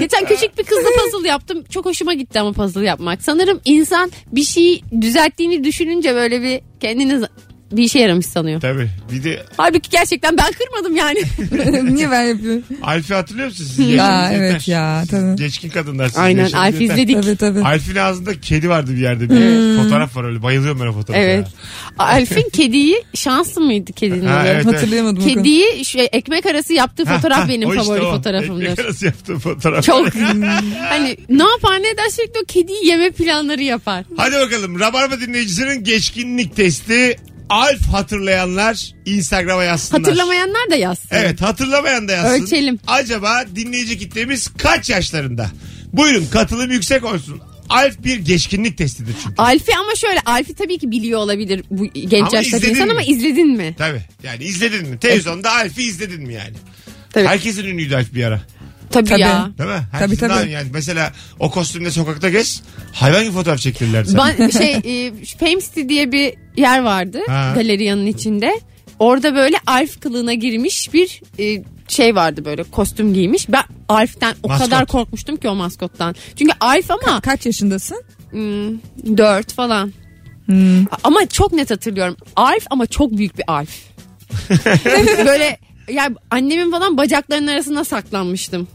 S4: Geçen küçük bir kızla puzzle yaptım. Çok hoşuma gitti ama puzzle yapmak. Sanırım insan bir şeyi düzelttiğini düşününce böyle bir kendini bir işe yaramış sanıyor.
S2: Tabii. Bir de
S4: Halbuki gerçekten ben kırmadım yani.
S3: Niye ben yapıyorum?
S2: Alfi hatırlıyor musun? Sizin
S3: Ya,
S2: yaşınız
S3: evet
S2: yeter.
S3: ya,
S2: Siz
S3: tabii.
S2: Geçkin kadınlar. sizin
S4: Aynen
S2: yaşınız
S4: Alf
S2: yeter.
S4: izledik.
S3: tabii tabii.
S2: Alf'in ağzında kedi vardı bir yerde. Bir
S3: Hmm.
S2: fotoğraf var öyle. Bayılıyorum ben o fotoğrafa.
S4: Evet. Alf'in kediyi şanslı mıydı kedinin?
S2: Ha,
S4: adı?
S2: evet,
S3: Hatırlayamadım. o konuyu.
S4: Kediyi şey, ekmek arası yaptığı fotoğraf benim
S2: O işte
S4: favori
S2: o. Hmm.
S4: fotoğrafımdır.
S2: Ekmek arası yaptığı fotoğraf.
S4: Çok hani ne yapar ne eder sürekli o kediyi yeme planları yapar.
S2: Hadi bakalım. Rabarba dinleyicisinin geçkinlik testi. Alf hatırlayanlar Instagram'a yazsınlar.
S4: Hatırlamayanlar da yazsın.
S2: Evet hatırlamayan da yazsın.
S4: Ölçelim.
S2: Acaba dinleyici kitlemiz kaç yaşlarında? Buyurun katılım yüksek olsun. Alf bir geçkinlik testidir çünkü.
S4: Alfi ama şöyle Alfi tabii ki biliyor olabilir bu genç
S2: Ama
S4: yaştaki
S2: izledin
S4: insan
S2: mi?
S4: ama izledin mi?
S2: Tabii. Yani izledin mi?
S3: E-
S2: Televizyonda Alf'i izledin mi yani?
S4: Tabii.
S2: Herkesin ünlüydü Alf bir ara.
S4: Tabii,
S3: Tabii.
S4: ya.
S2: Değil mi? Herkesin
S3: tabii.
S2: daha- Yani mesela o kostümle sokakta gez. Hayvan gibi fotoğraf çektirirler sana.
S4: Ben şey e, şu Fame City diye bir yer vardı
S2: Ha.
S4: galeriyanın içinde. Orada böyle Alf kılığına girmiş bir e, şey vardı böyle kostüm giymiş. Ben Alf'ten o
S2: Maskot.
S4: kadar korkmuştum ki o maskottan. Çünkü Alf ama
S3: Kaç yaşındasın?
S4: 4 falan. Ama çok net hatırlıyorum. Alf ama çok büyük bir Alf. böyle yani annemin falan bacaklarının arasında saklanmıştım.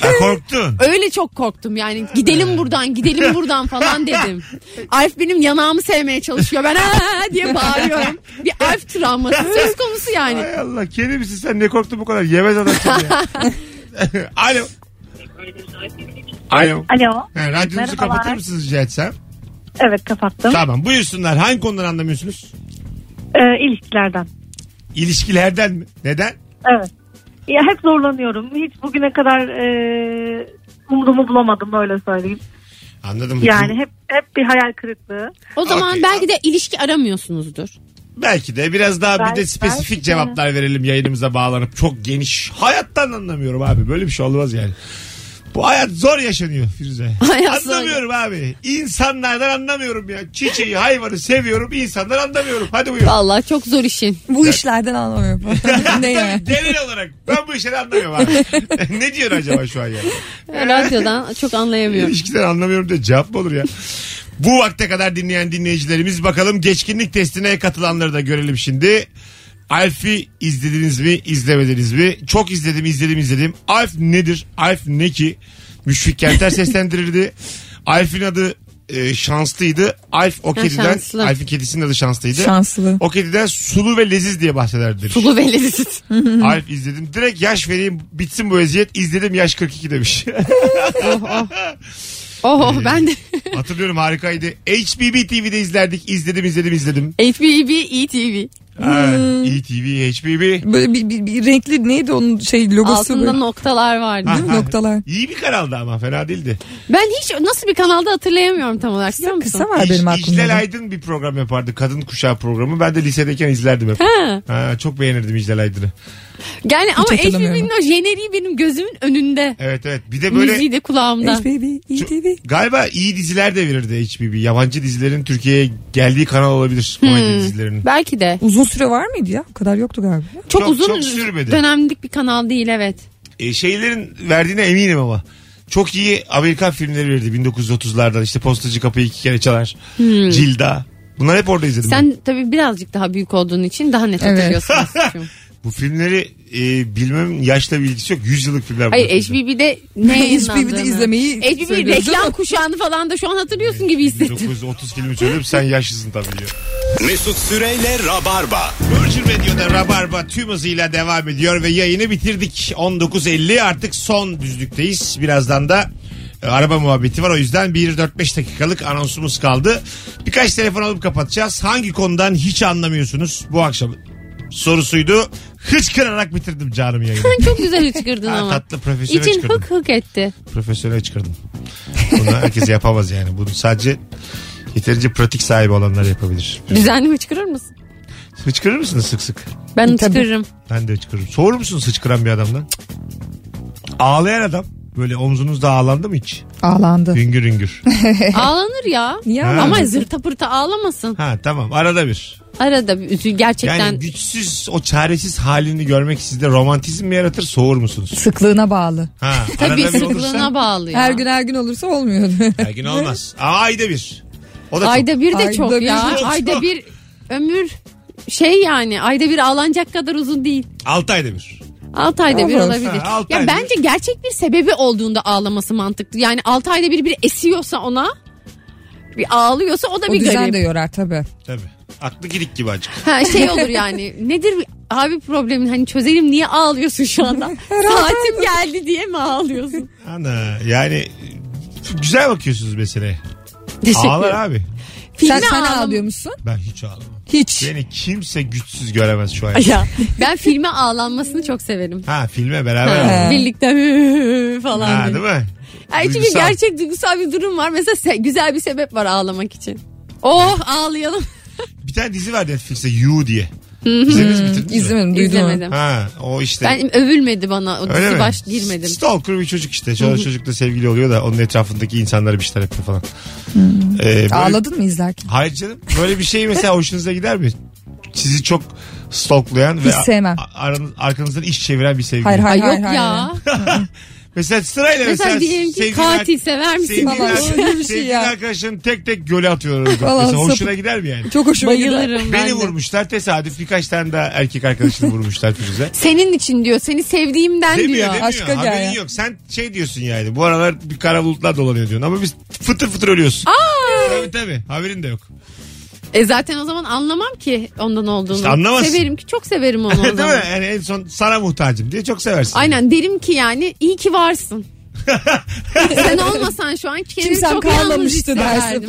S2: Ha, korktun.
S4: Öyle çok korktum yani gidelim buradan gidelim buradan falan dedim. Alf benim yanağımı sevmeye çalışıyor ben aa diye bağırıyorum. Bir Alf travması söz konusu yani.
S2: Hay Allah kedi misin sen ne korktun bu kadar yemez adam seni ya. Alo. Alo.
S8: Alo.
S2: Ha, radyonuzu
S8: Merhabalar.
S2: kapatır mısınız rica etsem?
S8: Evet kapattım.
S2: Tamam buyursunlar hangi konuları anlamıyorsunuz?
S8: Ee, ilişkilerden.
S2: İlişkilerden mi? Neden?
S8: Evet. Ya hep zorlanıyorum. Hiç bugüne kadar e, umudumu bulamadım öyle söyleyeyim.
S2: Anladım.
S8: Yani hep hep bir hayal kırıklığı.
S4: O zaman
S2: Okey.
S4: belki de ilişki aramıyorsunuzdur.
S2: Belki de biraz daha bir de
S8: Belki-
S2: spesifik
S8: belki de.
S2: cevaplar verelim yayınımıza bağlanıp çok geniş. Hayattan anlamıyorum abi böyle bir şey olmaz yani. Bu hayat zor yaşanıyor Firuze.
S4: Hayat zor.
S2: anlamıyorum abi. İnsanlardan anlamıyorum ya. Çiçeği hayvanı seviyorum insanlar anlamıyorum. Hadi buyurun.
S4: Vallahi çok zor işin.
S3: Bu işlerden anlamıyorum. ne ya?
S2: Genel olarak ben bu işleri anlamıyorum abi. ne diyor acaba şu an ya?
S4: Radyodan çok anlayamıyorum.
S2: İlişkiden anlamıyorum diye cevap mı olur ya? Bu vakte kadar dinleyen dinleyicilerimiz bakalım geçkinlik testine katılanları da görelim şimdi. Alf'i izlediniz mi izlemediniz mi? Çok izledim izledim izledim. Alf nedir? Alf ne ki? Müşfik Kenter seslendirirdi. Alf'in adı e, şanslıydı. Alf o kediden,
S4: şanslı.
S2: Alf'in kedisinin adı şanslıydı.
S3: Şanslı.
S2: O kediden sulu ve leziz diye bahsederdi.
S4: Sulu ve leziz.
S2: Alp izledim. Direkt yaş vereyim bitsin bu eziyet. İzledim yaş 42 demiş.
S4: Oh, oh ben de.
S2: Hatırlıyorum harikaydı. HBB TV'de izlerdik. İzledim izledim izledim.
S4: HBB ETV.
S2: Ha,
S3: Hmm.
S2: ETV, HBB.
S3: Böyle bir, bir, bir renkli neydi onun şey logosu
S4: Altında
S3: böyle.
S4: noktalar vardı.
S2: Ha,
S3: Değil mi?
S2: ha.
S3: Noktalar.
S2: İyi bir kanaldı ama fena değildi.
S4: Ben hiç nasıl bir kanalda hatırlayamıyorum tam olarak. Biliyor musun?
S3: Kısa var
S2: İj-
S3: benim aklımda.
S2: İclal Aydın bir program yapardı. Kadın kuşağı programı. Ben de lisedeyken izlerdim hep.
S4: Ha.
S2: Ha, çok beğenirdim İclal Aydın'ı.
S4: Yani ama
S3: hatırlamıyorum.
S4: HBB'nin o jeneriği benim gözümün önünde.
S2: Evet evet. Bir de böyle
S4: Müziği de kulağımda.
S3: HBB, ETV.
S2: galiba iyi diziler de verirdi HBB. Yabancı dizilerin Türkiye'ye geldiği kanal olabilir.
S3: Hmm.
S2: Komedi dizilerinin.
S4: Belki de.
S3: Uzun süre var mıydı ya? O kadar yoktu galiba.
S4: Çok,
S2: Çok-
S4: uzun
S2: çok sürmedi.
S4: dönemlik bir kanal değil evet.
S2: e, şeylerin verdiğine eminim ama. Çok iyi Amerikan filmleri verdi 1930'lardan. İşte Postacı Kapıyı iki kere çalar.
S3: Hmm.
S2: Cilda. Bunlar hep orada izledim. ben.
S4: Sen tabii birazcık daha büyük olduğun için daha net
S3: Evet.
S4: hatırlıyorsun. aslında.
S2: Bu filmleri e, bilmem yaşla bir ilgisi yok. 100 yıllık filmler. bunlar.
S4: Hayır HBB'de ne yayınlandığını.
S3: HBB'de izlemeyi
S4: HBB
S3: söylüyoruz
S4: reklam
S3: ama-
S4: kuşağını falan da şu an hatırlıyorsun gibi hissettim.
S2: 1930 filmi söylüyorum sen yaşlısın tabii. diyor.
S1: Mesut Süreyle Rabarba.
S2: Virgin Radio'da Rabarba tüm hızıyla devam ediyor ve yayını bitirdik. 19.50 artık son düzlükteyiz. Birazdan da e, araba muhabbeti var. O yüzden 1-4-5 dakikalık anonsumuz kaldı. Birkaç telefon alıp kapatacağız. Hangi konudan hiç anlamıyorsunuz bu akşam? Sorusuydu. Hıçkırarak bitirdim canım yayını.
S4: Çok güzel hıçkırdın
S2: Ha,
S4: ama.
S2: tatlı şey profesyonel
S4: İçin
S2: çıkardım.
S4: hık hık etti.
S2: Profesyonel çıkardım. Bunu herkes yapamaz yani. Bunu sadece yeterince pratik sahibi olanlar yapabilir.
S4: Düzenli hıçkırır mısın?
S2: Hıçkırır mısınız sık sık?
S4: Ben
S3: E, Tabii.
S4: hıçkırırım.
S2: Ben de hıçkırırım. Soğur musun hıçkıran bir adamdan? Cık. Ağlayan adam. Böyle omzunuzda ağlandı mı hiç?
S3: Ağlandı.
S2: Hüngür hüngür.
S4: Ağlanır ya.
S3: Niye
S2: Ha.
S3: ağlandı?
S4: Ama zırta pırta ağlamasın.
S2: ha tamam arada bir.
S4: Arada bir üzül gerçekten
S2: Yani güçsüz o çaresiz halini görmek sizde romantizm mi yaratır soğur musunuz?
S3: Sıklığına bağlı.
S2: Ha,
S4: tabii
S2: arada bir
S4: sıklığına
S2: olursa-
S4: bağlı ya.
S3: Her gün her gün olursa olmuyor.
S2: Her gün olmaz. Aa, ayda bir. O da çok.
S4: Ayda bir de
S3: Ayda
S4: çok
S3: bir
S4: ya.
S2: de çok.
S4: Ayda bir ömür şey yani ayda bir ağlanacak kadar uzun değil.
S2: Altı ayda bir.
S4: 6 ayda bir
S3: Olur.
S4: olabilir.
S2: Ha, altı
S4: ya
S2: ayda
S4: bence gerçek bir sebebi olduğunda ağlaması mantıklı. Yani 6 ayda bir bir esiyorsa ona bir ağlıyorsa o da
S3: o
S4: bir
S3: düzen
S4: garip.
S3: de yorar tabii.
S2: Tabii. Aklı gidik gibi acık.
S4: Ha, şey olur yani nedir abi problemin hani çözelim niye ağlıyorsun şu anda? Saatim geldi diye mi ağlıyorsun?
S2: Ana yani güzel bakıyorsunuz meseleye.
S4: Teşekkür
S2: Ağlar
S4: ederim.
S2: abi.
S3: Sen,
S4: Filme
S3: sen
S4: ağlam-
S3: ağlıyor musun?
S2: Ben hiç ağlamam.
S3: Hiç.
S2: Beni kimse güçsüz göremez şu an.
S4: Ya, ben filme ağlanmasını çok severim.
S2: Ha filme beraber
S4: Ha,
S2: ağladık.
S4: Birlikte falan.
S2: Ha
S4: böyle.
S2: değil mi?
S4: Ay, çünkü
S2: Duygusal.
S4: gerçek duygusal bir durum var. Mesela se- güzel bir sebep var ağlamak için. Oh ağlayalım.
S2: Bir tane dizi var Netflix'te You diye. İzlediniz mi? bitirdiniz mi?
S3: İzlemedim duydum. onu.
S4: İzlemedim.
S2: Ha o işte.
S4: Ben övülmedi bana. O
S2: Öyle
S4: dizi
S2: mi?
S4: baş girmedim.
S2: Stalker bir çocuk işte. Sonra çocukla sevgili oluyor da onun etrafındaki insanlara bir şeyler yapıyor falan. Ee, böyle-
S3: Ağladın mı izlerken?
S2: Hayır canım. Böyle bir şey mesela hoşunuza gider mi? Sizi çok stalklayan ve
S3: Hiç sevmem.
S2: a- aranız- arkanızdan iş çeviren bir sevgili.
S3: Hayır
S4: Ay
S3: hayır
S4: yok
S3: hayır. hayır.
S4: ya.
S2: Mesela sırayla mesela,
S4: Mesela diyelim ki
S2: sevgililer-
S4: katil sever misin?
S2: sevgililer-
S4: falan.
S3: Vallahi öyle bir şey
S2: sevgili
S3: ya.
S2: arkadaşlarını tek tek göle atıyorlar.
S3: Vallahi
S2: mesela hoşuna
S3: sapık.
S2: gider mi yani?
S3: Çok hoşuma gider.
S4: Bayılırım ben
S2: Beni
S4: de.
S2: vurmuşlar tesadüf birkaç tane daha erkek arkadaşını vurmuşlar Firuze.
S4: Senin için diyor. Seni sevdiğimden
S2: Demiyor
S4: diyor.
S2: demiyor.
S3: Aşka gel
S2: Haberin
S3: ya.
S2: yok. Sen şey diyorsun yani bu aralar bir kara bulutlar dolanıyor diyorsun ama biz fıtır fıtır ölüyorsun. Tabii tabii haberin de yok.
S4: E zaten o zaman anlamam ki ondan olduğunu.
S2: İşte anlamazsın.
S4: Severim ki çok severim onu o
S2: Değil
S4: zaman.
S2: mi? Yani en son sana muhtacım diye çok seversin.
S4: Aynen derim ki yani iyi ki varsın. Sen olmasan şu an kendimi
S3: Kimsem
S4: çok yalnız
S3: kalmamıştı
S4: hissederdim.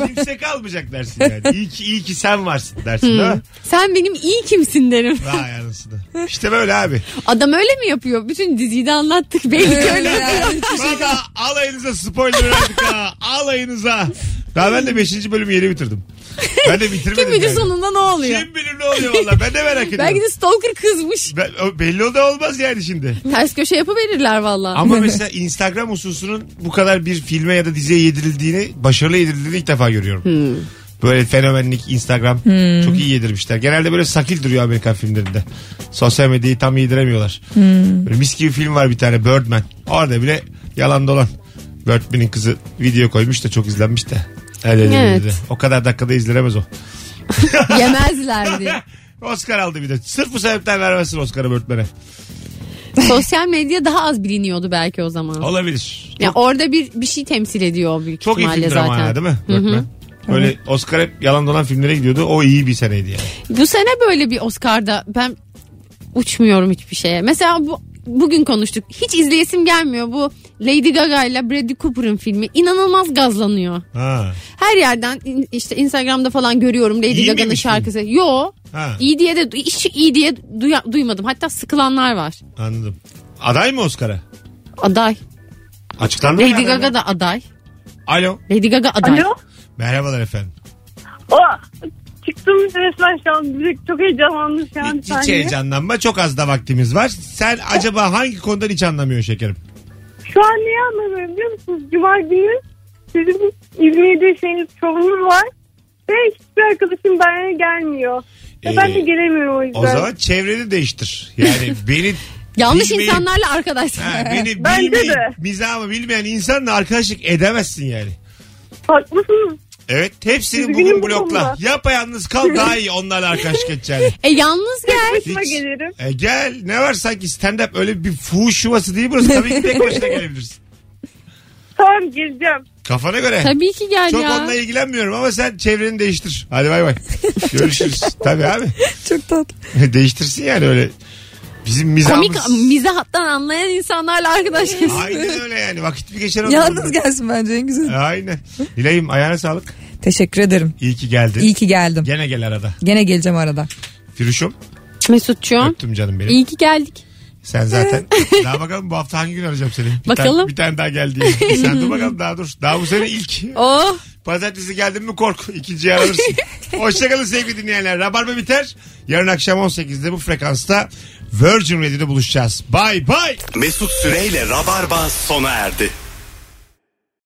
S3: dersin.
S2: Kimse kalmayacak dersin yani. İyi ki, iyi ki sen varsın dersin değil mi?
S4: Sen benim iyi kimsin derim.
S3: Hmm.
S2: Vay anasını. İşte böyle abi.
S4: Adam öyle mi yapıyor? Bütün diziyi de anlattık. Belli ki öyle.
S3: Öyle yani.
S2: Valla alayınıza spoiler verdik ha. Alayınıza. Daha ben de 5. bölümü yeni bitirdim. Ben de bitirmedim.
S4: Kim bilir
S2: yani.
S4: sonunda ne oluyor?
S2: Kim bilir ne oluyor valla. Ben de merak ediyorum.
S4: Belki de stalker kızmış.
S2: Ben- o belli oldu olmaz yani şimdi.
S4: Ters köşe yapıverirler valla.
S2: Ama mesela Instagram hususunun bu kadar bir filme ya da diziye yedirildiğini, başarılı yedirildiğini ilk defa görüyorum. Böyle fenomenlik Instagram çok iyi yedirmişler. Genelde böyle sakil duruyor Amerikan filmlerinde. Sosyal medyayı tam yediremiyorlar. Böyle mis gibi film var bir tane Birdman. Orada bile yalan dolan. Birdman'in kızı video koymuş da çok izlenmiş de. Öyle öyle
S4: Evet.
S2: öyle. O kadar dakikada izlenemez o.
S4: Yemezlerdi.
S2: Oscar aldı bir de. Sırf bu sebepten vermesin Oscar'ı Birdman'e.
S4: Sosyal medya daha az biliniyordu belki o zaman.
S2: Olabilir.
S4: Ya orada bir bir şey temsil ediyor o büyük
S2: Çok iyi
S4: ihtimalle
S2: filmdir ama
S4: zaten.
S2: hala değil mi?
S4: Hı hı.
S2: Birdman. Böyle Oscar hep yalan dolan filmlere gidiyordu. O iyi bir seneydi yani.
S4: Bu sene böyle bir Oscar'da ben uçmuyorum hiçbir şeye. Mesela bu bugün konuştuk. Hiç izleyesim gelmiyor bu Lady Gaga ile Bradley Cooper'ın filmi. inanılmaz gazlanıyor.
S2: Ha.
S4: Her yerden in- işte Instagram'da falan görüyorum Lady
S2: İyi
S4: Gaga'nın
S2: miymiş
S4: şarkısı. Yo.
S2: Ha.
S4: iyi diye de hiç iyi diye duya- duymadım. Hatta sıkılanlar var.
S2: Anladım. Aday mı Oscar'a?
S4: Aday.
S2: Açıklandı mı?
S4: Lady
S2: aday mı?
S4: Gaga da aday.
S2: Alo.
S4: Lady Gaga aday.
S8: Alo.
S2: Merhabalar efendim.
S8: O, çıktım resmen şu an direkt çok heyecanlandım şu an. Hani
S2: Hiç, hiç heyecanlanma. Çok az da vaktimiz var. Sen acaba hangi konudan hiç anlamıyorsun şekerim?
S8: Şu an niye anlamıyorum biliyor musunuz? Cuma günü sizin İzmir'de şeyiniz şovunuz var. Ve hiçbir arkadaşım bana gelmiyor. Ve
S2: Ee,
S8: ben de gelemiyorum o yüzden.
S2: O zaman çevreni değiştir. Yani beni
S4: Yanlış
S2: bilmeyip-
S4: insanlarla arkadaşsın.
S2: Ha, beni
S8: Bence
S2: bilmeyip,
S8: de.
S2: mizahımı bilmeyen insanla arkadaşlık edemezsin yani.
S8: Haklısınız.
S2: Evet hepsini
S8: Üzgünüm
S2: bugün
S8: bu
S2: blokla.
S8: konuda.
S2: Yapayalnız kal daha iyi onlarla arkadaşlık edeceğini.
S4: E yalnız gel.
S8: Başıma
S2: Hiç.
S8: gelirim.
S2: E gel ne var sanki stand up öyle bir fuhuş şuvası değil burası. Tabii ki tek başına gelebilirsin.
S8: Tamam geleceğim.
S2: Kafana göre.
S4: Tabii ki gel
S2: Çok
S4: ya.
S2: onunla ilgilenmiyorum ama sen çevreni değiştir. Hadi bay bay. Görüşürüz. Tabii abi.
S3: Çok tatlı.
S2: Değiştirsin yani öyle. Bizim mizahımız.
S4: Komik mizahtan anlayan insanlarla arkadaş kesin.
S2: Aynen öyle yani. Vakit bir geçer. E,
S3: Yalnız gelsin bence en güzel.
S2: Aynen. Dileğim ayağına sağlık.
S3: Teşekkür ederim.
S2: İyi ki geldin.
S3: İyi ki geldim.
S2: Gene gel arada.
S3: Gene geleceğim arada.
S2: Firuşum
S4: Mesut'cuğum
S2: öptüm canım benim.
S4: iyi ki geldik.
S2: Sen zaten. daha bakalım bu hafta hangi gün arayacağım seni. Bir Tane,
S4: Bakalım.
S2: bir tane daha gel diye. Sen dur bakalım daha dur. Daha bu sene ilk.
S4: Oh.
S2: Pazartesi geldin mi kork. İkinciyi alırsın. Hoşçakalın sevgili dinleyenler. Rabarba biter. Yarın akşam 18'de bu frekansta Virgin Radio'da buluşacağız. Bye bye.
S1: Mesut Süreyle Rabarba sona erdi.